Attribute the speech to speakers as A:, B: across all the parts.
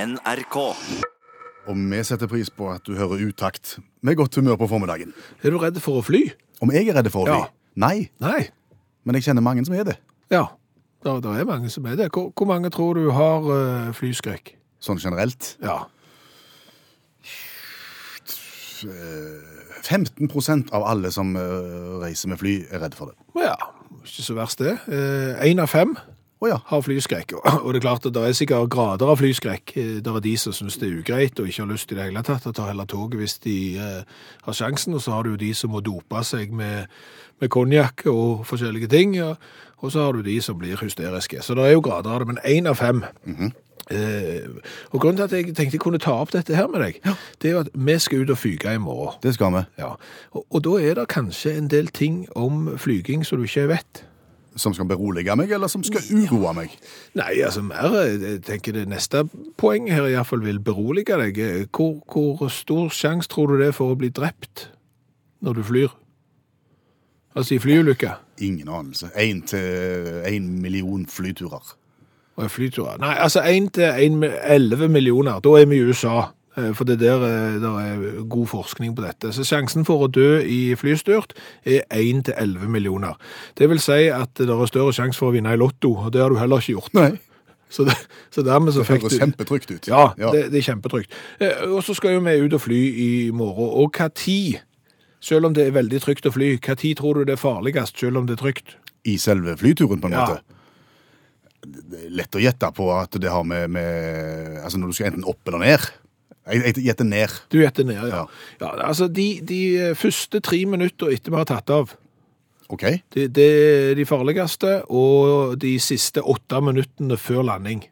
A: NRK.
B: Og vi setter pris på at du hører utakt med godt humør på formiddagen.
C: Er du redd for å fly?
B: Om jeg er redd for å fly?
C: Ja.
B: Nei,
C: Nei.
B: men jeg kjenner mange som er det.
C: Ja, det er mange som er det. Hvor, hvor mange tror du har eh, flyskrekk?
B: Sånn generelt.
C: Ja.
B: 15 Eh, av alle som eh, reiser med fly, er redd for det.
C: ja, ikke så verst det. Én av fem
B: Å ja.
C: har flyskrekk. Og- Og det er klart at det er sikkert grader av flyskrekk. Eh, Det er de som syns det er ugreit og ikke har lyst i det hele tatt. og tar heller toget hvis de eh, har sjansen. Og så har du jo de som må dope seg med, med konjakk og forskjellige ting. Og, og så har du de som blir hysteriske. Så det er jo grader av det. Men én av fem. eh, og grunnen til at jeg tenkte jeg kunne ta opp dette her med deg, det er jo at vi skal ut og fyke i morgen.
B: Det skal vi.
C: Ja, og, og da er det kanskje en del ting om flyging som du ikke vet.
B: Som skal berolige meg, eller som skal uroe meg.
C: Nei, altså mer, jeg tenker det neste poeng her i hvert fall vil berolige deg. Eh, Hvor, hvor stor sjans tror du det er for å bli drept når du flyr? Altså i flyulykke
B: Ingen anelse. Én til én million flyturer.
C: og i flyturer? Nei, altså 1 til 1 med 11 millioner, da er vi i USA. eh, For det der, eh, der er god forskning på dette. Så sjansen for å dø i flystyrt er 1 til 11 millioner. Det vil si at det er større sjanse for å vinne i lotto, og det har du heller ikke gjort.
B: Nei.
C: Så, det, så dermed så
B: Det
C: fikk
B: høres
C: du...
B: kjempetrygt ut.
C: Ja, Det, det er kjempetrygt. Eh, Og så skal jo vi ut og fly i morgen. Og hva tid, selv om det er veldig trygt å fly, hva tid tror du det er farligst, selv om det er trygt?
B: I selve flyturen, på en
C: Ja.
B: måte. Det er lett å gjette på at det har med, med Altså når du skal enten opp eller ned. Jeg jeg gjetter ned.
C: Du gjetter ned, ja.
B: Ja.
C: ja altså, de, de første tre minutter etter vi har tatt av,
B: OK?
C: det, det er de farligste, og de siste åtte minuttene før landing.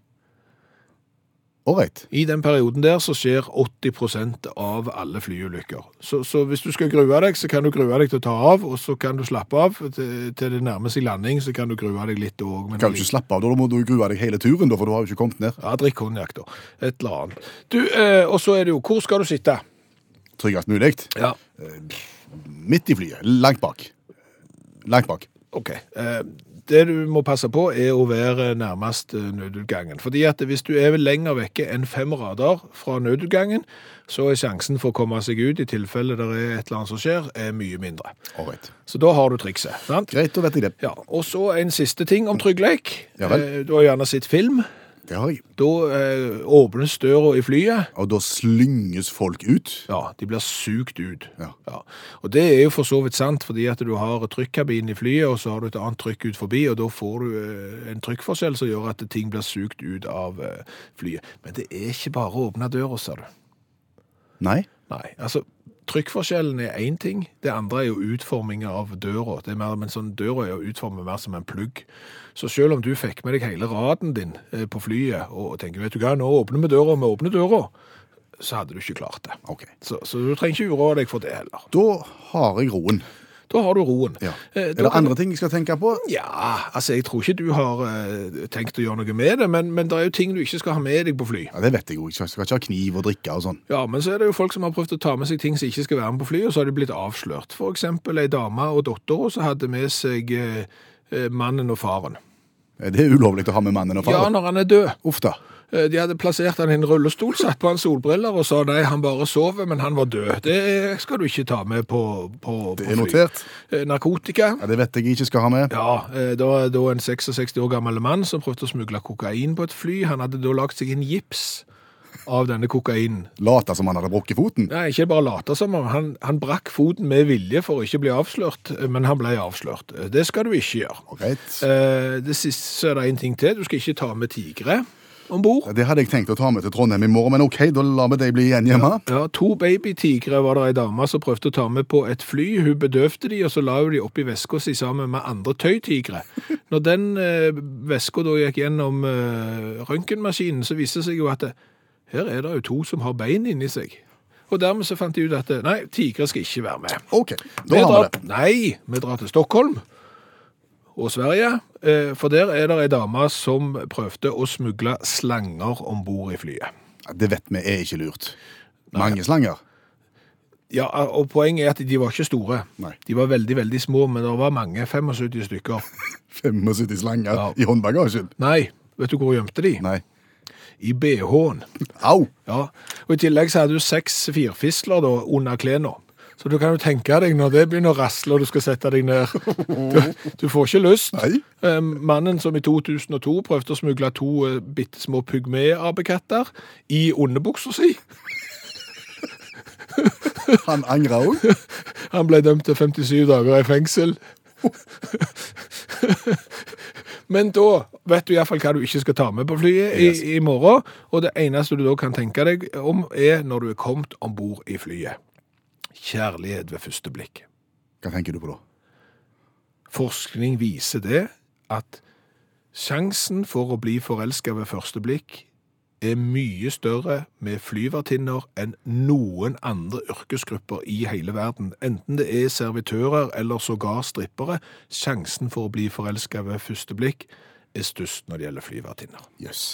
B: Ålreit.
C: I den perioden der så skjer 80 av alle flyulykker. Så, så hvis du skal grue deg, så kan du grue deg til å ta av, og så kan du slappe av. Til, til det nærmer seg landing, så kan du grue deg litt òg.
B: Kan du ikke slappe av, da Da må du grue deg hele turen, da, for du har jo ikke kommet ned.
C: Ja, drikk konjakk, da. Et eller annet. Du, eh, og så er det jo Hvor skal du sitte?
B: Tryggest mulig.
C: Ja.
B: Midt i flyet. Langt bak. Langt bak.
C: OK. Eh, det du må passe på, er å være nærmest eh, nødutgangen. Fordi at hvis du er lenger vekke enn fem rader fra nødutgangen, så er sjansen for å komme seg ut i tilfelle det er et eller annet som skjer, er mye mindre.
B: Ålreit.
C: Så da har du trikset. sant?
B: Greit, da vet jeg det.
C: Ja, Og så en siste ting om tryggleik.
B: Ja vel.
C: Eh, Du har gjerne sett film.
B: Det har jeg.
C: Da eh, åpnes døra i flyet.
B: Og da slynges folk ut.
C: Ja, de blir sugt ut.
B: Ja.
C: Og det er jo for så vidt sant, fordi at du har trykkabinen i flyet, og så har du et annet trykk ut forbi, og da får du eh, en trykkforskjell som gjør at ting blir sugt ut av eh, flyet. Men det er ikke bare å åpne døra, sa du.
B: Nei.
C: Nei, altså trykkforskjellen er én ting, det andre er jo utformingen av døra. Det er mer, men sånn Døra er jo utformet mer som en plugg. Så selv om du fikk med deg hele raden din eh, på flyet og tenker vet du hva, nå åpner vi døra, vi åpner døra, så hadde du ikke klart det.
B: OK.
C: Så, så du trenger ikke uroe deg for det heller.
B: Da har jeg roen.
C: Da har du roen.
B: Ja. Er
C: Eh, da
B: det
C: kan-
B: andre ting jeg skal tenke på?
C: Ja, altså jeg tror ikke du har eh, tenkt å gjøre noe med det, men, men det er jo ting du ikke skal ha med deg på fly.
B: Ja, Det vet jeg jo. Jeg skal ikke ha kniv og drikke og sånn.
C: Ja, men så er det jo folk som har prøvd å ta med seg ting som ikke skal være med på flyet, og så har de blitt avslørt. For eksempel ei dame og datter som hadde med seg eh, eh, mannen og faren.
B: Det er ulovlig å ha med mannen og
C: Ja,
B: faren.
C: når han er død.
B: Uff da.
C: Eh, De hadde plassert han i en rullestol, satt på han solbriller og sa nei, han bare sover, men han var død. Det skal du ikke ta med på, på,
B: Det er
C: på fly.
B: notert.
C: Eh, Narkotika.
B: Ja, Det vet jeg ikke skal ha med.
C: Ja, eh, da er da en 66 år gammel mann som prøvde å smugle kokain på et fly. Han hadde da lagt seg en gips av denne kokainen.
B: Late som han hadde brukket foten.
C: Nei, ikke bare late som om. Han, han brakk foten med vilje for å ikke bli avslørt, eh, men han ble avslørt. Eh, Det skal du ikke gjøre.
B: Greit.
C: Eh, Det siste så er det en ting til. Du skal ikke ta med tigre om bord.
B: Det hadde jeg tenkt å ta med til Trondheim i morgen, men OK, da lar vi deg bli igjen hjemme.
C: Ja, to babytigre var det ei dame som prøvde å ta med på et fly. Hun bedøvde de, og så la hun de oppi veska si sammen med andre tøytigre. Når den eh, veska da gikk gjennom eh, røntgenmaskinen, så viste det seg jo at det, her er det jo to som har bein inni seg. Og dermed så fant de ut at eh, nei, tigre skal ikke være med.
B: OK,
C: Vi
B: da har vi
C: drar-
B: det.
C: Nei, vi drar til Stockholm og Sverige, eh, for der er det ei dame som prøvde å smugle slanger om bord i flyet.
B: Ja, Det vet vi er ikke lurt. Mange slanger.
C: Ja, og poenget er at de var ikke store.
B: Nei.
C: De var veldig, veldig små, men det var mange, 75 stykker.
B: 75 slanger
C: Ja.
B: i håndbagasjen.
C: Nei, vet du hvor jeg gjemte de?
B: Nei.
C: I BH-en.
B: Au!
C: Ja. Og I tillegg så hadde du seks firfisler da, under klærne. Så du kan jo tenke deg når det begynner å rasle og du skal sette deg ned. Du, du får ikke lyst.
B: Nei.
C: Eh, Mannen som i 2002 prøvde å smugle to eh, bitte små pygme-apekatter i underbuksa si,
B: Han angra òg.
C: han ble dømt til 57 dager i fengsel. Men da vet du iallfall hva du ikke skal ta med på flyet i, i morgen. Og det eneste du da kan tenke deg om, er når du er kommet om bord i flyet. Kjærlighet ved første blikk.
B: Hva tenker du på da?
C: Forskning viser det at sjansen for å bli forelska ved første blikk er mye større med flyvertinner enn noen andre yrkesgrupper i hele verden. Enten det er servitører eller sågar strippere. Sjansen for å bli forelska ved første blikk er størst når det gjelder flyvertinner.
B: Jøss.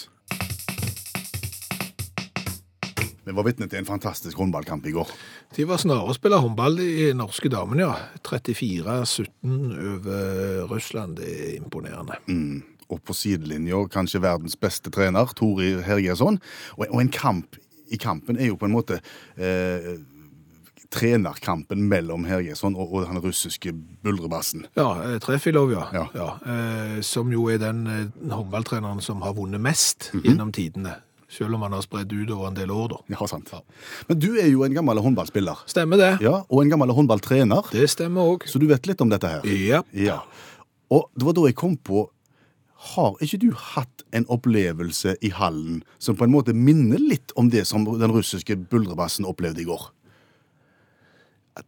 B: Vi var vitne til en fantastisk håndballkamp i går.
C: De var snare å spille håndball, de norske damene, ja. 34-17 over Russland. Det er imponerende.
B: Mm. Og på sidelinja kanskje verdens beste trener, Tori Hergjesson. Og, og en kamp i kampen er jo på en måte eh, trenerkampen mellom Hergjesson og, og den russiske buldrebassen.
C: Ja, eh, Trefilov, ja.
B: Ja.
C: eh, som jo er den eh, håndballtreneren som har vunnet mest
B: Mhm.
C: gjennom tidene. Selv om han har spredd ut over en del år, da.
B: Ja, sant. Men du er jo en gammel håndballspiller.
C: Stemmer det?
B: Ja, og en gammel håndballtrener,
C: Det stemmer òg.
B: så du vet litt om dette her.
C: Ja.
B: Ja. Og det var da jeg kom på Har ikke du hatt en opplevelse i hallen som på en måte minner litt om det som den russiske buldrebassen opplevde i går?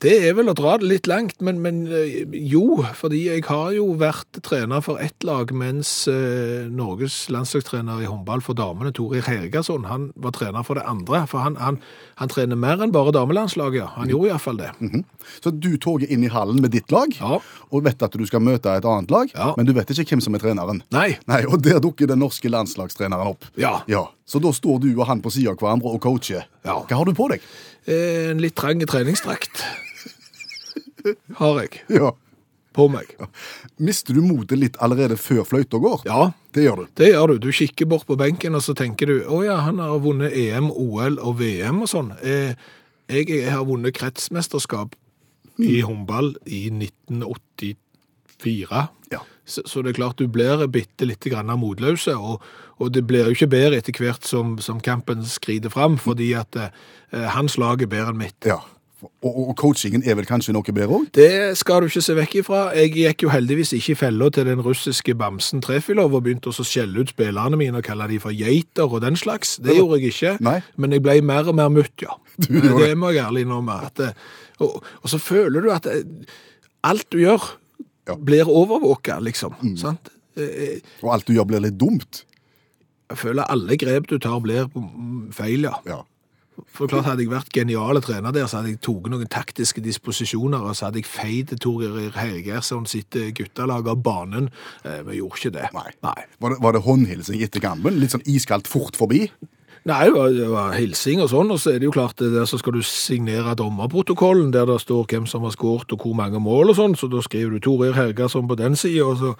C: Det er vel å dra det litt langt, men, men eh, jo. Fordi jeg har jo vært trener for ett lag, mens eh, Norges landslagstrener i håndball for damene, Torir Hergasson, han var trener for det andre. For han, han, han trener mer enn bare damelandslaget, ja. Han gjorde iallfall det.
B: Mhm. Så du toger inn i hallen med ditt lag,
C: Ja.
B: og vet at du skal møte et annet lag,
C: Ja.
B: men du vet ikke hvem som er treneren.
C: Nei.
B: Nei, Og der dukker den norske landslagstreneren opp.
C: Ja.
B: Ja, Så da står du og han på sida av hverandre og coacher.
C: Ja.
B: Hva har du på deg?
C: Eh, En litt trang treningsdrakt har jeg
B: Ja.
C: på meg.
B: Mister du motet litt allerede før fløyta går?
C: Ja,
B: Det gjør du.
C: det gjør du. Du kikker bort på benken, og så tenker du å ja, han har vunnet EM, OL og VM og sånn. Eh, Jeg, jeg har vunnet kretsmesterskap i håndball i 1984.
B: Ja.
C: Så, så det er klart du blir bitte litt grann motløse, og, og det blir jo ikke bedre etter hvert som, som kampen skrider fram, fordi at eh, hans lag er bedre enn mitt.
B: ja. Og, og- og coachingen er vel kanskje noe bedre òg?
C: Det skal du ikke se vekk ifra. Jeg gikk jo heldigvis ikke i fella til den russiske bamsen Trefilov og begynte også å skjelle ut spillerne mine og kalle de for geiter og den slags. Det gjorde jeg ikke.
B: Nei.
C: Men jeg ble mer og mer mutt, ja.
B: gjorde
C: Det må jeg ærlig innrømme. at, eh, Og, og så føler du at eh, alt du gjør,
B: Ja. Mm.
C: blir overvåka, liksom. Sant? Eh,
B: Og alt du gjør, blir litt dumt?
C: Jeg føler alle grep du tar, blir mm, feil, ja.
B: Ja.
C: For klart Hadde jeg vært geniale trener der, så hadde jeg tatt noen taktiske disposisjoner, og så hadde jeg feid Torgeir Hergersson sitt eh, guttelag av banen. Eh, vi gjorde ikke det.
B: Nei.
C: Nei.
B: Var det, var det håndhilsing etter kampen? Litt sånn iskaldt fort forbi?
C: Nei, det var, det var hilsing og sånn, og så er det jo klart det der så skal du signere dommerprotokollen, der det står hvem som har skåret og hvor mange mål og sånn, så da skriver du Torgeir Hergersson på den siden, og så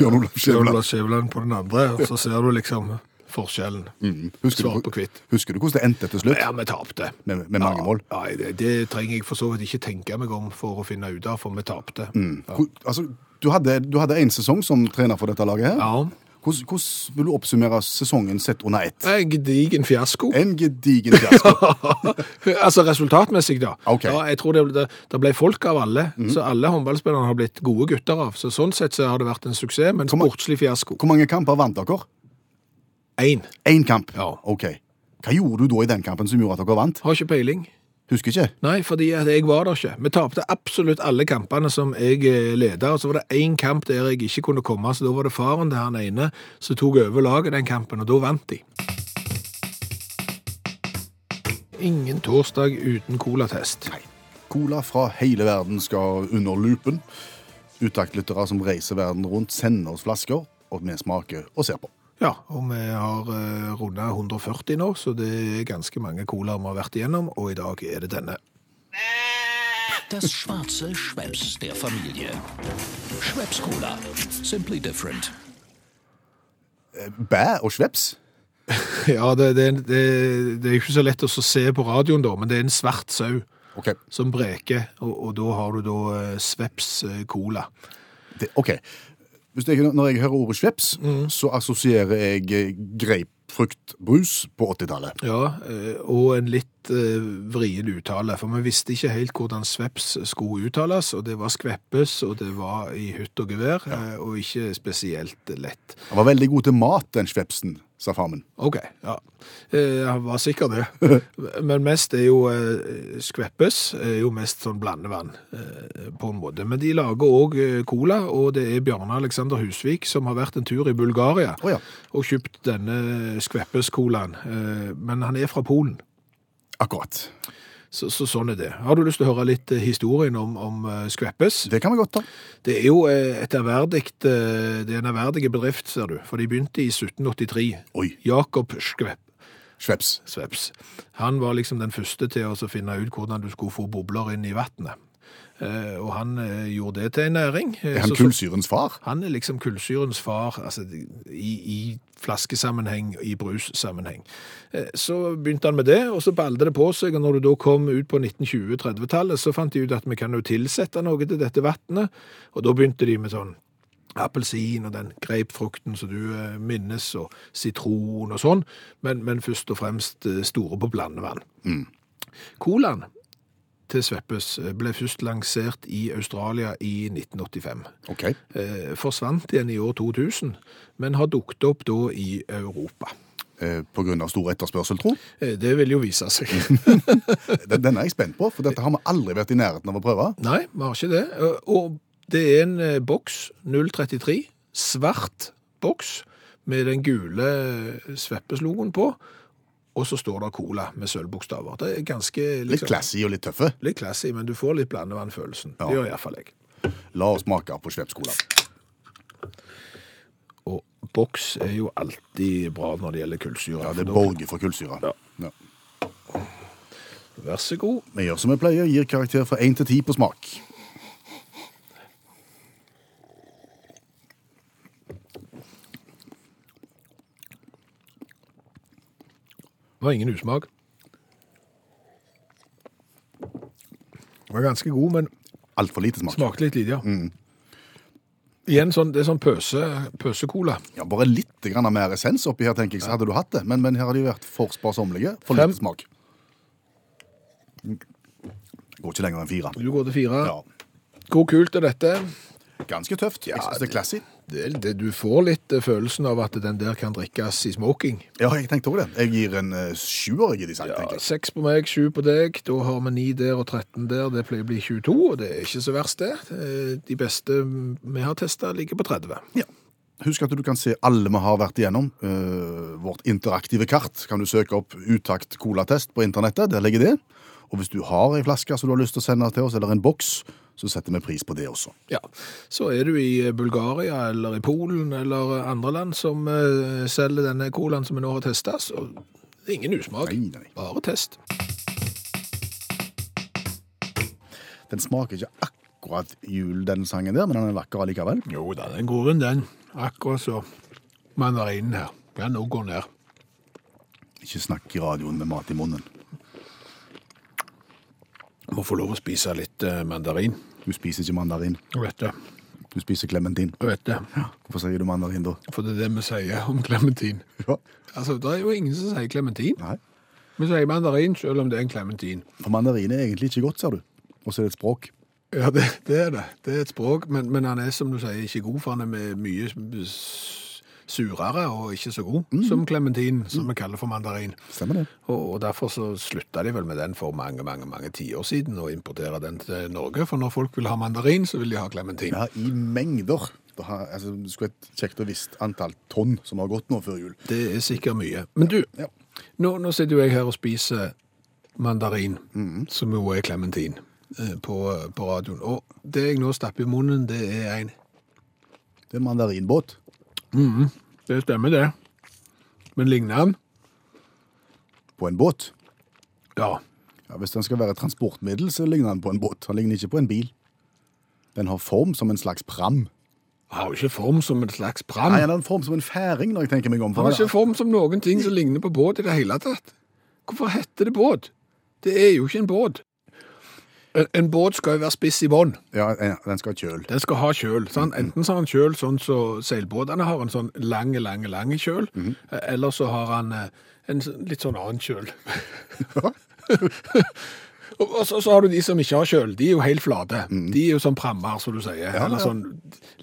B: Bjørn Olav
C: Bjørn
B: Skjæveland.
C: Lars Skjæveland på den andre, og så ser du liksom forskjellen.
B: Mm. Husker,
C: Svart
B: du-
C: på hvitt.
B: husker du hvordan det endte til slutt?
C: Ja, vi tapte.
B: Med, med mange mål?
C: Nei, det, det trenger jeg for så vidt ikke tenke meg om for å finne ut av, for vi tapte.
B: Hvor- Altså, du hadde, du hadde en sesong som trener for dette laget her.
C: Ja.
B: Hvordan, hvordan vil du oppsummere sesongen sett under ett?
C: En gedigen fiasko.
B: En gedigen fiasko.
C: altså resultatmessig, da.
B: Ok.
C: Ja, jeg tror det, ble- det, det ble folk av alle, så alle håndballspillerne har blitt gode gutter av. Så Sånn sett så har det vært en suksess, men
B: Hvor ma-
C: sportslig fiasko.
B: Hvor mange kamper vant dere?
C: Én.
B: Én kamp?
C: Ja.
B: Ok. Hva gjorde du da i den kampen som gjorde at dere vant?
C: Har ikke peiling.
B: Husker ikke.
C: Nei, fordi at jeg var der ikke. Vi tapte absolutt alle kampene som jeg eh, ledet, og så var det én kamp der jeg ikke kunne komme, så da var det faren til han ene som tok over laget den kampen, og da vant de. Ingen torsdag uten colatest.
B: Nei. Cola fra hele verden skal under lupen. Utaktlyttere som reiser verden rundt, sender oss flasker, og vi smaker og ser på.
C: Ja, og vi har eh, runda 140 nå, så det er ganske mange colaer vi har vært igjennom, og i dag er det denne.
A: Das schwarze Schweppes der Familie. Schweppes Cola. Simply different.
B: Bæ og sveps?
C: Ja, det, det, det, det er jo ikke så lett å så se på radioen, da, men det er en svart sau
B: OK.
C: som breker, og, og da har du da eh, Sveps eh, Cola.
B: Det, ok. Hvis jeg, når jeg hører ordet sveps,
C: Mm.
B: så assosierer jeg eh, grapefruktbrus på 80-tallet.
C: Ja, eh, og en litt eh, vrien uttale, for vi visste ikke helt hvordan sveps skulle uttales, og det var skveppes, og det var i hytt og gevær, eh, og ikke spesielt lett.
B: Han var veldig god til mat, den svepsen, sa farmen.
C: Ok, ja. Eh, Jeg var sikker det. Men mest er jo eh, skveppes, er jo mest sånn blandevann eh, på en måte. Men de lager også eh, cola, og det er Bjarne Alexander Husvik som har vært en tur i Bulgaria
B: Å ja.
C: og kjøpt denne skveppes-colaen. Eh, Men han er fra Polen.
B: Akkurat.
C: Så, så sånn er det. Har du lyst til å høre litt eh, historien om, om eh, Skveppes?
B: Det kan vi godt ta.
C: Det er jo eh, et ærverdig eh, Det er en ærverdig bedrift, ser du. For de begynte i 1783.
B: Oi,
C: Jakob Skvepp.
B: sveps.
C: Sveps. Han var liksom den første til å så finne ut hvordan du skulle få bobler inn i vannet. Eh, Og han eh, gjorde det til en næring. Eh,
B: Er han
C: så- så-
B: kullsyrens far?
C: han er liksom kullsyrens far altså, i, i flaskesammenheng, i brussammenheng. Eh, Så begynte han med det, og så balde det på seg, og når du da kom ut på 1920-30-tallet, så fant de ut at vi kan jo tilsette noe til dette vattnet, og da begynte de med sånn appelsin og den grapefrukten som du eh, minnes, og sitron og sånn, men, men først og fremst eh, store på blandevann. Colaen til Sveppes eh, ble først lansert i Australia i 1985
B: OK.
C: eh, forsvant igjen i år 2000, men har dukket opp da i Europa.
B: Eh, på grunn av stor etterspørsel, tro.
C: Eh, det vil jo vise seg.
B: Den, den er jeg spent på, for dette har vi aldri vært i nærheten av å prøve.
C: Nei, vi har ikke det. Eh, Og det er en eh, boks, 033, svart boks, med den gule eh, sveppeslogoen på, og så står det Cola med sølvbokstaver. Det er ganske
B: Litt
C: liksom,
B: classy og litt tøffe.
C: litt classy, men du får litt blandevannfølelsen.
B: Ja.
C: Det gjør iallfall jeg.
B: La oss smake på svepskola.
C: Og boks er jo alltid bra når det gjelder kullsyre.
B: Ja, det
C: for da-
B: borger for kullsyra.
C: Ja.
B: Ja.
C: Vær så god.
B: Vi gjør som vi pleier, gir karakter fra 1 til 10 på smak.
C: Det var ingen usmak. Det var ganske god, men
B: Altfor lite smak.
C: smakte litt lite, ja. Igjen, sånn, det er sånn pøse, pøsekola.
B: Ja, Bare litt grann mer essens oppi her, tenker jeg, så hadde du hatt det. Men, men her har de vært for sparsommelige. For
C: Fem.
B: lite smak. Går ikke lenger enn fire.
C: Du går til fire.
B: Ja,
C: Hvor kult er dette?
B: Ganske tøft. Jeg synes det er classy.
C: Det, det, du får litt eh, følelsen av at den der kan drikkes i smoking.
B: Ja, jeg tenkte også det. Jeg gir en eh, sjuer jeg, i design,
C: Ja,
B: tenker jeg.
C: seks på meg, sju på deg. Da har vi ni der og 13 der. Det pleier å bli 22, og det er ikke så verst, det. Eh, De beste vi har testa, ligger på 30.
B: Ja. Husk at du kan se alle vi har vært igjennom. eh, vårt interaktive kart kan du søke opp Utakt colatest på internettet. Der ligger det. Og hvis du har ei flaske som du har lyst til å sende til oss, eller en boks, så setter vi pris på det også.
C: Ja, så er du i Bulgaria eller i Polen eller andre land som eh, selger denne colaen som vi nå har testet, så det er ingen usmak.
B: Nei, nei.
C: Bare test.
B: Den smaker ikke akkurat jul, den sangen der, men den er vakker allikevel.
C: Jo da, den går inn den. Akkurat så mandarinen her. Den nå går ned.
B: Ikke snakk i radioen med mat i munnen.
C: Må få lov å spise litt eh, mandarin.
B: Du spiser ikke mandarin,
C: Jeg vet det.
B: du spiser klementin.
C: Jeg vet det.
B: Hvorfor sier du mandarin da?
C: For det er det vi sier om klementin.
B: Ja.
C: Altså, det er jo ingen som sier klementin.
B: Nei,
C: Vi sier mandarin selv om det er en klementin.
B: for mandarin er egentlig ikke godt, ser du. Og så er det et språk.
C: Ja, det, det er det. Det er et språk, men, men han er, som du sier, ikke god, for han er med mye s- surere og ikke så god som klementin, som vi kaller for mandarin.
B: Stemmer det.
C: Og, og derfor så slutta de vel med den for mange, mange mange tiår siden, og importere den til Norge. For når folk vil ha mandarin, så vil de ha klementin.
B: Ja, i mengder. Det har, altså, det skulle et kjekt og visst antall tonn som har gått nå før jul.
C: Det er sikkert mye. Men du,
B: Ja.
C: nå, nå sitter jo jeg her og spiser mandarin, som jo er klementin, eh, på, på radioen. Og det jeg nå stapper i munnen, det er en
B: Det er en mandarinbåt.
C: Det stemmer, det. Men ligner han?
B: På en båt.
C: Ja.
B: Ja, hvis den skal være et transportmiddel, så ligner den på en båt. Han ligner ikke på en bil. Den har form som en slags pram.
C: har jo ikke form som en slags pram.
B: Nei, han har en form som en færing, når jeg tenker meg om.
C: Han har ikke form som noen ting som ligner på båt i det hele tatt. Hvorfor heter det båt? Det er jo ikke en båt. En, en båt skal jo være spiss i bånn.
B: Ja, ja, den skal ha kjøl.
C: Den skal ha kjøl. sant? Enten så har han kjøl sånn som seilbåtene har en sånn lange, lange, lange kjøl, eh, eller så har han eh, en sånn- litt sånn annen kjøl. Og og så, så har du de som ikke har kjøl. De er jo helt flate. De er jo sånn prammer, som du sier. Eller sånn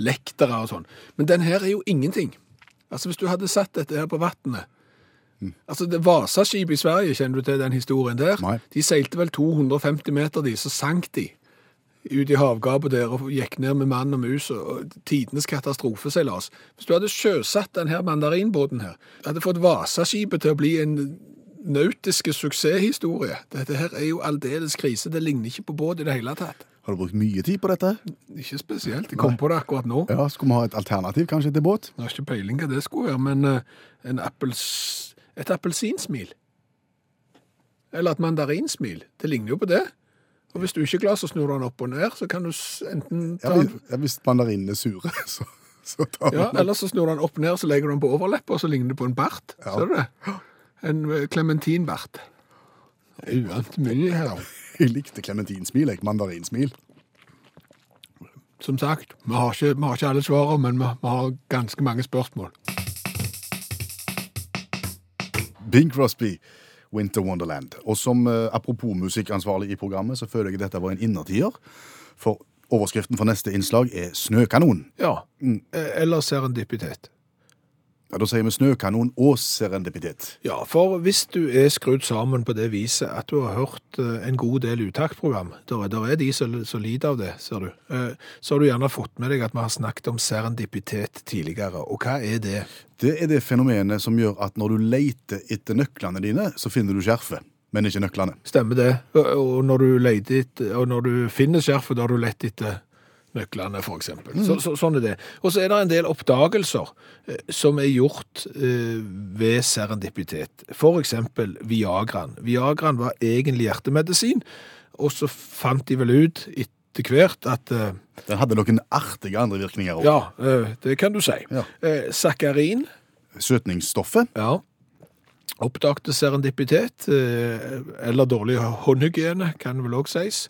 C: lektere og sånn. Men den her er jo ingenting. Altså, Hvis du hadde sett dette her på vannet Altså, det Vasaskipet i Sverige, kjenner du til den historien der?
B: Nei.
C: De seilte vel 250 meter, de, så sank de ut i havgapet der og gikk ned med mann og mus og- og tidenes katastrofeseilas. Hvis du hadde sjøsatt den her mandarinbåten her, hadde fått Vasaskipet til å bli en nautiske suksesshistorie. Dette her er jo aldeles krise. Det ligner ikke på båt i det hele tatt.
B: Har du brukt mye tid på dette?
C: Ikke spesielt. Jeg kom på det akkurat nå.
B: Ja, Skulle vi ha et alternativ kanskje til båt?
C: Jeg har ikke peiling hva det skulle være, men eh, en appels, et appelsinsmil. Eller et mandarinsmil. Det ligner jo på det. Og hvis du ikke er glad, så snur du den opp og ned, så kan du s- enten
B: Ja,
C: ta den
B: hvis, ja, hvis mandarinene er sure, så, så tar vi
C: Ja,
B: den.
C: eller så snur du den opp og ned, så legger du den på overleppa, og så ligner det på en bart. Ser du det? En eh, klementinbart. Det er Uant mye her.
B: Jeg likte klementinsmil, jeg. Mandarinsmil.
C: Som sagt, vi har ikke, vi har ikke alle svarene, men vi, vi har ganske mange spørsmål.
B: Bing Crosby, Winter Wonderland. Og som eh, apropos musikkansvarlig i programmet, så føler jeg dette var en innertier. For overskriften for neste innslag er Snøkanon.
C: Ja, eh, eller serendipitet.
B: Ja, Da sier vi Snøkanon og serendipitet.
C: Ja, for hvis du er skrudd sammen på det viset at du har hørt eh, en god del uttaktprogram, der, er- der er de som som lider av det, ser du, eh, så har du gjerne fått med deg at vi har snakket om serendipitet tidligere. Og hva er det?
B: Det er det fenomenet som gjør at når du leter etter nøklene dine, så finner du skjerfet, men ikke nøklene.
C: Stemmer det. Og- Og når du, leter, etter- og når du finner skjerfet, da har du lett etter nøklene, for eksempel. Så, så, sånn er det. Og så er det en del oppdagelser eh, som er gjort eh, ved serendipitet. For eksempel Viagraen. Viagraen var egentlig hjertemedisin, og så fant de vel ut etter hvert at eh,
B: Den hadde noen artige andre virkninger òg.
C: Ja, eh, det kan du si.
B: Ja.
C: Eh, Sakarin
B: Søtningsstoffet.
C: ja. Oppdagte serendipitet, eh, eller dårlig håndhygiene, kan vel òg sies.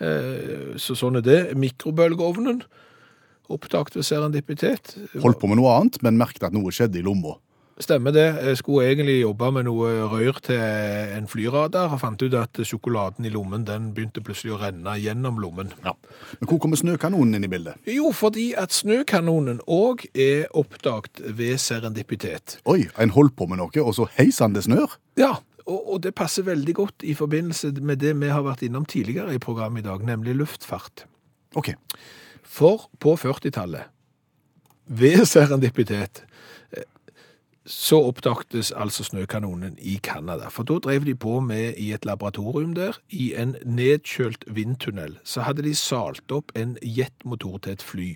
C: Eh, Så sånn er det. Mikrobølgeovnen oppdagte serendipitet.
B: Holdt på med noe annet, men merket at noe skjedde i lomma.
C: Stemmer det. Jeg skulle egentlig jobbe med noe rør til en flyradar, og fant ut at sjokoladen i lommen den begynte plutselig å renne gjennom lommen.
B: Men hvor kommer snøkanonen inn i bildet?
C: Jo, fordi at snøkanonen òg er oppdaget ved serendipitet.
B: Oi, en holdt på med noe, og så hei sann, det snør.
C: Ja, og, og det passer veldig godt i forbindelse med det vi har vært innom tidligere i programmet i dag, nemlig luftfart.
B: OK.
C: For på 40-tallet, ved serendipitet, eh, så oppdagtes altså snøkanonen i Canada. For da drev de på med, i et laboratorium der, i en nedkjølt vindtunnel, så hadde de salt opp en jetmotor til et fly.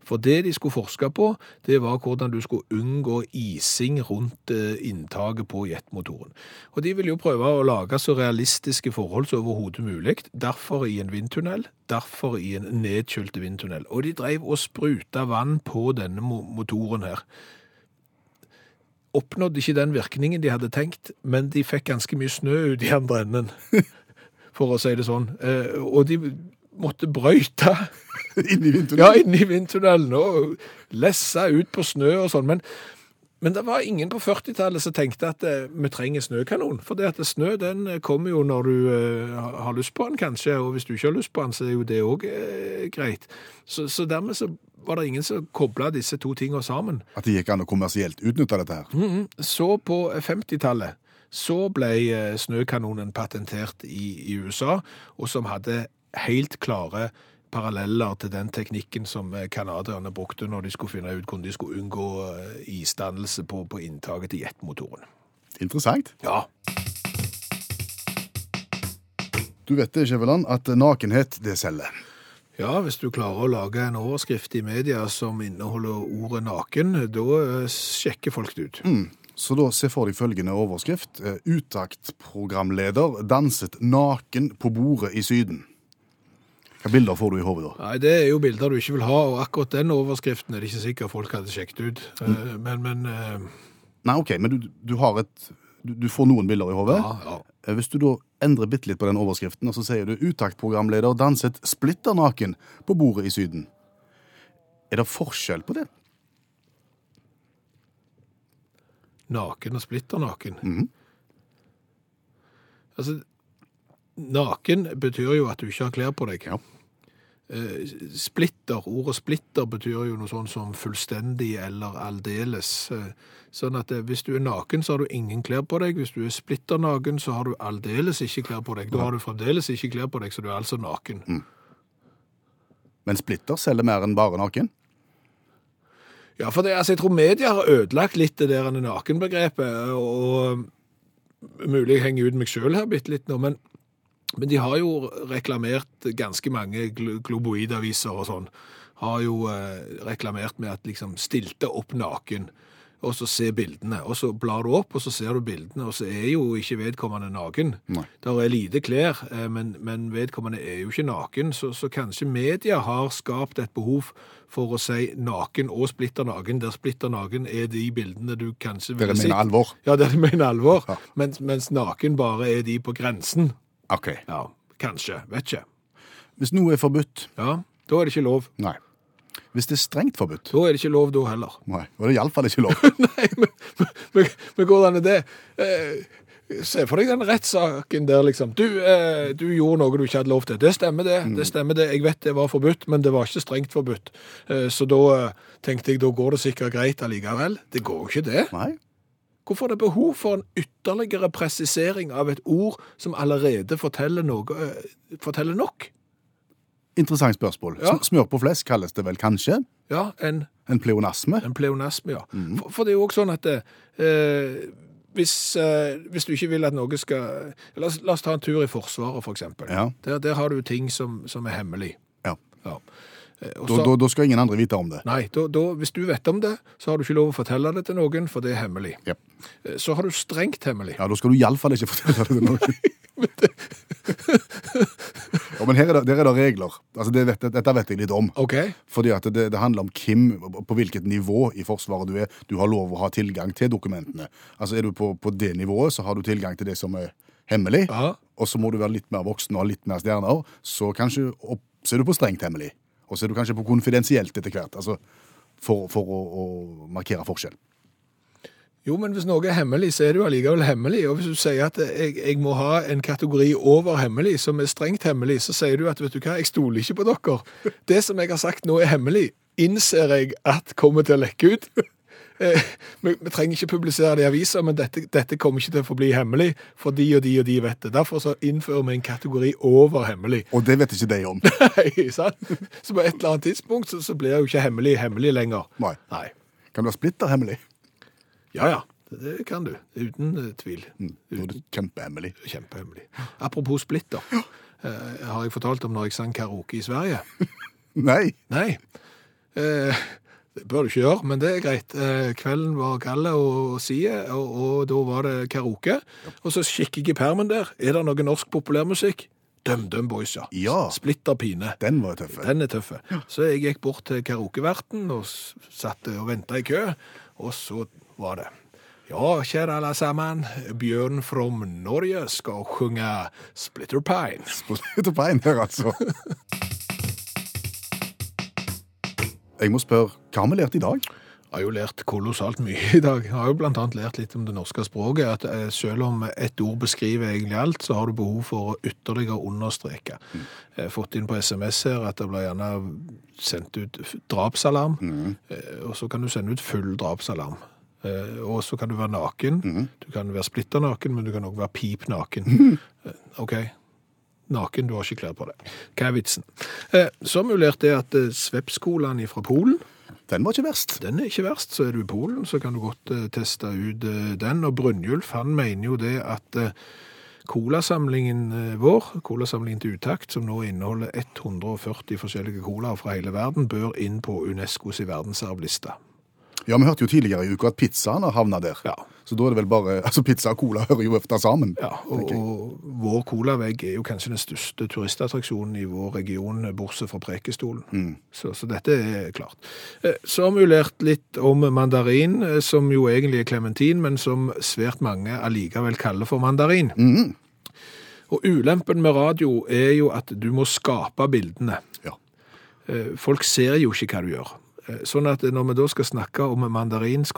C: For det de skulle forske på, det var hvordan du skulle unngå ising rundt eh, inntaket på jetmotoren. Og de ville jo prøve å lage så realistiske forhold som overhodet mulig. Derfor i en vindtunnel, derfor i en nedkjølt vindtunnel. Og de drev og spruta vann på denne mo- motoren her. Oppnådde ikke den virkningen de hadde tenkt, men de fikk ganske mye snø ut i andre enden, for å si det sånn. Eh, Og de måtte brøyte
B: Inn i
C: ja,
B: vindtunnelen.
C: inne i vindtunnelen og lessa ut på snø og sånn. Men, men det var ingen på 40-tallet som tenkte at eh, vi trenger snøkanon. For det at snø den kommer jo når du eh, har- har lyst på den, kanskje. Og hvis du ikke har lyst på den, så er jo det òg eh, greit. Så, så dermed så var det ingen som kobla disse to tinga sammen.
B: At det gikk an å kommersielt utnytte dette her.
C: Så på 50-tallet så ble eh, snøkanonen patentert i, i USA, og som hadde helt klare paralleller til den teknikken som eh, kanadierne brukte når de skulle finne ut hvordan de skulle unngå eh, isdannelse på, på inntaket til jetmotoren.
B: Interessant.
C: Ja,
B: Du vet det, Skjæveland, at nakenhet, det selger.
C: Ja, hvis du klarer å lage en overskrift i media som inneholder ordet naken, da eh, sjekker folk det ut.
B: Så da se for deg følgende overskrift. Eh, Utaktprogramleder danset naken på bordet i Syden. Hvilke bilder får du i hodet da?
C: Nei, det er jo bilder du ikke vil ha, og akkurat den overskriften er det ikke sikkert folk hadde sjekket ut. Eh, Men, men eh,
B: Nei, OK, men du, du har et du, du får noen bilder i hodet.
C: ja, ja.
B: Eh, Hvis du da endrer bitte litt på den overskriften, og så sier du 'Utakt-programleder danset splitter naken på bordet i Syden'. Er det forskjell på det?
C: Naken og splitter naken. Altså, naken betyr jo at du ikke har klær på deg.
B: Ja.
C: Eh, Splitter, ordet splitter betyr jo noe sånn som fullstendig eller aldeles. Eh, Sånn at eh, hvis du er naken, så har du ingen klær på deg. Hvis du er splitter naken, så har du aldeles ikke klær på deg. Da har du fremdeles ikke klær på deg, så du er altså naken.
B: Men splitter selger mer enn bare naken.
C: Ja, for det, altså, jeg tror media har ødelagt litt det der nakenbegrepet, og mulig jeg henger ut meg selv her bitte litt nå, men, men de har jo reklamert ganske mange gl globoidaviser og sånn, har jo eh, reklamert med at liksom stilte opp naken, og så se bildene, og så blar du opp, og så ser du bildene, og så er jo ikke vedkommende naken.
B: Nei.
C: Der er lite klær, eh, men, men vedkommende er jo ikke naken, så, så kanskje media har skapt et behov for å si naken og splitter naken, der splitter naken er de bildene du kanskje
B: Dere
C: ville
B: mener
C: sett.
B: alvor?
C: Ja, der de mener alvor,
B: Ja.
C: mens, mens naken bare er de på grensen.
B: OK.
C: Ja, kanskje, vet ikke.
B: Hvis noe er forbudt
C: Ja, da er det ikke lov.
B: Nei. Hvis det er strengt forbudt
C: Da er det ikke lov da heller.
B: Nei. Og det er iallfall ikke lov.
C: Nei, men, men, men hvordan er det? Eh, se for deg den rettssaken der, liksom. Du, eh, du gjorde noe du ikke hadde lov til. Det stemmer, det. det stemmer det. Jeg vet det var forbudt, men det var ikke strengt forbudt. Eh, så da eh, tenkte jeg, da går det sikkert greit allikevel. Det går jo ikke det.
B: Nei.
C: Hvorfor er det behov for en ytterligere presisering av et ord som allerede forteller, noe, eh, forteller nok?
B: Interessant spørsmål.
C: Ja.
B: Sm- Smør på flesk kalles det vel kanskje?
C: Ja, en,
B: En pleonasme?
C: en pleonasme, ja.
B: Mhm.
C: For, for det er jo også sånn at eh, hvis, eh, hvis du ikke vil at noe skal eh, la oss, la oss ta en tur i Forsvaret, for eksempel.
B: Ja.
C: Der, der har du ting som, som er hemmelig.
B: Ja.
C: Ja. Eh, og
B: Da,
C: så-
B: da, da skal ingen andre vite om det.
C: Nei, da, da, hvis du vet om det, så har du ikke lov å fortelle det til noen, for det er hemmelig.
B: Ja.
C: Eh, Så har du strengt hemmelig.
B: Ja, Da skal du iallfall ikke fortelle det til noen. ja, men her er det, der er det regler. Altså, det vet, Dette vet jeg litt om.
C: Ok?
B: Fordi at det, det handler om hvem, på hvilket nivå i Forsvaret du er. Du har lov å ha tilgang til dokumentene. Altså Er du på, på det nivået, så har du tilgang til det som er hemmelig.
C: Ja.
B: Og så må du være litt mer voksen og ha litt mer stjerner. Så kanskje opp, så er du på strengt hemmelig. Og så er du kanskje på konfidensielt etter hvert. Altså For, for å, å markere forskjell.
C: Jo, men hvis noe er hemmelig, så er det jo allikevel hemmelig. Og hvis du sier at eh, jeg, jeg må ha en kategori over hemmelig, som er strengt hemmelig, så sier du at vet du hva, jeg stoler ikke på dere. Det som jeg har sagt nå er hemmelig, innser jeg at kommer til å lekke ut. Eh, Vi, vi trenger ikke publisere det i aviser, men dette, dette kommer ikke til å forbli hemmelig, for de og de og de vet det. Derfor så innfører vi en kategori over hemmelig.
B: Og det vet ikke de om.
C: Nei, sant? Så på et eller annet tidspunkt så, så blir jo ikke hemmelig hemmelig lenger.
B: Nei.
C: Nei.
B: Kan du være splitter hemmelig?
C: Ja, ja. Det det kan du. Uten eh, tvil.
B: Nå er det kjempehemmelig.
C: Kjempehemmelig. Apropos splitter. Eh, har jeg fortalt om når jeg sang karaoke i Sverige?
B: Nei!
C: Nei. Eh, det bør du ikke gjøre, men det er greit. Eh, kvelden var Kalle og Sie, og, og da var det karaoke. Og så kikker jeg i permen der. Er det noe norsk populærmusikk? DumDum Boys, ja.
B: Ja.
C: Splitter pine.
B: Den var tøff.
C: Den er tøffe. Så jeg gikk bort til karaokeverten og s- satt og venta i kø, og så var det Ja, kjære alle sammen, Bjørn fra Norge skal synge Splitter Pine.
B: på slutt på en her, altså. Jeg må spørre, hva har vi lært i dag?
C: Jeg har jo lært kolossalt mye i dag. Jeg har jo blant annet lært litt om det norske språket, at eh, selv om ett ord beskriver egentlig alt, så har du behov for å ytterligere understreke. Jeg har fått inn på SMS her at det blir gjerne sendt ut f- drapsalarm, eh, og så kan du sende ut full drapsalarm. Eh, Og så kan du være naken. Du kan være splitter naken, men du kan også være pip naken. Eh, Ok, naken, du har ikke klær på deg. Hva er vitsen? Eh, Så har vi jo lært det at Sveppskolan fra Polen,
B: Den var ikke verst.
C: den er ikke verst. Så er du i Polen, så kan du godt eh, teste ut eh, den. Og Brynjulf han mener jo det at eh, colasamlingen eh, vår, colasamlingen til utakt, som nå inneholder 140 forskjellige colaer fra hele verden, bør inn på UNESCOs verdensarvliste.
B: Ja, Vi hørte jo tidligere i uka at pizzaen har havna der.
C: Ja.
B: Så da er det vel bare Altså, pizza og cola hører jo ofte sammen.
C: Ja, og,
B: tenker jeg.
C: og vår colavegg er jo kanskje den største turistattraksjonen i vår region, bortsett fra Prekestolen.
B: Mm.
C: Så, så dette er klart. Eh, Så har vi jo lært litt om mandarin, eh, som jo egentlig er klementin, men som svært mange allikevel kaller for mandarin.
B: Mm.
C: Og ulempen med radio er jo at du må skape bildene.
B: Ja.
C: Eh, Folk ser jo ikke hva du gjør. Eh, Sånn at når vi da skal snakke om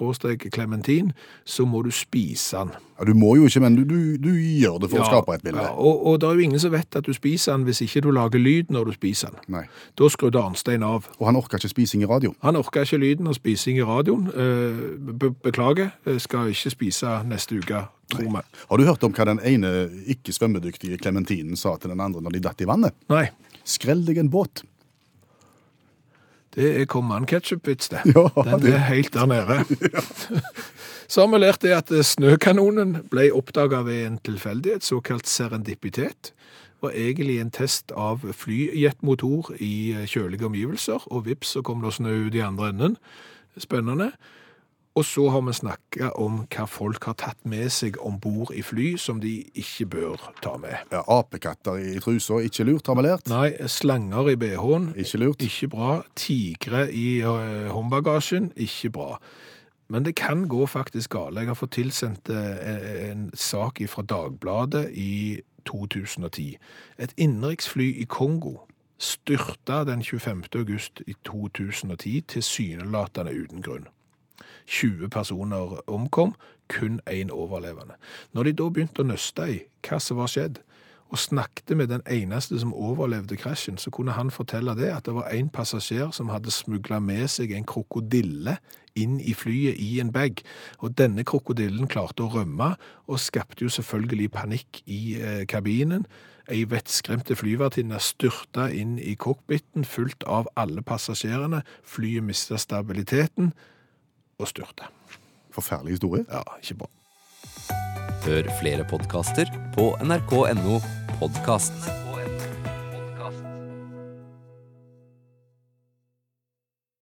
C: mandarin-klementin, så må du spise den.
B: ja, Du må jo ikke, men du, du, du gjør det for å skape et bilde.
C: Ja, og, og det er jo ingen som vet at du spiser den hvis ikke du lager lyd når du spiser den.
B: Nei.
C: Da skrudde Arnstein av.
B: Og han orker ikke spising i radio.
C: Han orka ikke lyden av spising i radioen. Eh, be- Beklager, eh, skal ikke spise neste uke, tror vi.
B: Har du hørt om hva den ene ikke-svømmedyktige klementinen sa til den andre når de datt i vannet?
C: Nei.
B: Skrell deg en båt.
C: Det er command ketchup-vits, det.
B: Ja,
C: Den
B: det-
C: er helt der nede. Så har vi lært det at eh, snøkanonen ble oppdaga ved en tilfeldighet, såkalt serendipitet. Var egentlig en test av flyjetmotor i eh, kjølige omgivelser, og vips så kom det snø ut i andre enden. Spennende. Og så har vi snakka om hva folk har tatt med seg om bord i fly som de ikke bør ta med.
B: Ja, Apekatter i trusa, ikke lurt, har vi lært.
C: Nei, slanger i bh-en
B: Ikke lurt.
C: ikke bra. Tigre i eh, håndbagasjen, ikke bra. Men det kan gå faktisk gale. Jeg har fått tilsendt eh, en sak fra Dagbladet i 2010. Et innenriksfly i Kongo styrta den 25. august i 2010, tilsynelatende uten grunn. 20 personer omkom, kun én overlevende. Når de da begynte å nøste i hva som var skjedd, og snakket med den eneste som overlevde krasjen, så kunne han fortelle det at det var en passasjer som hadde smugla med seg en krokodille inn i flyet i en bag. Og denne krokodillen klarte å rømme, og skapte jo selvfølgelig panikk i eh, kabinen. Ei vettskremte flyvertinne styrta inn i cockpiten, fulgt av alle passasjerene. Flyet mista stabiliteten og styrta.
B: Forferdelig historie.
C: Ja, ikke bra.
D: Hør flere podkaster på nrk.no podkast.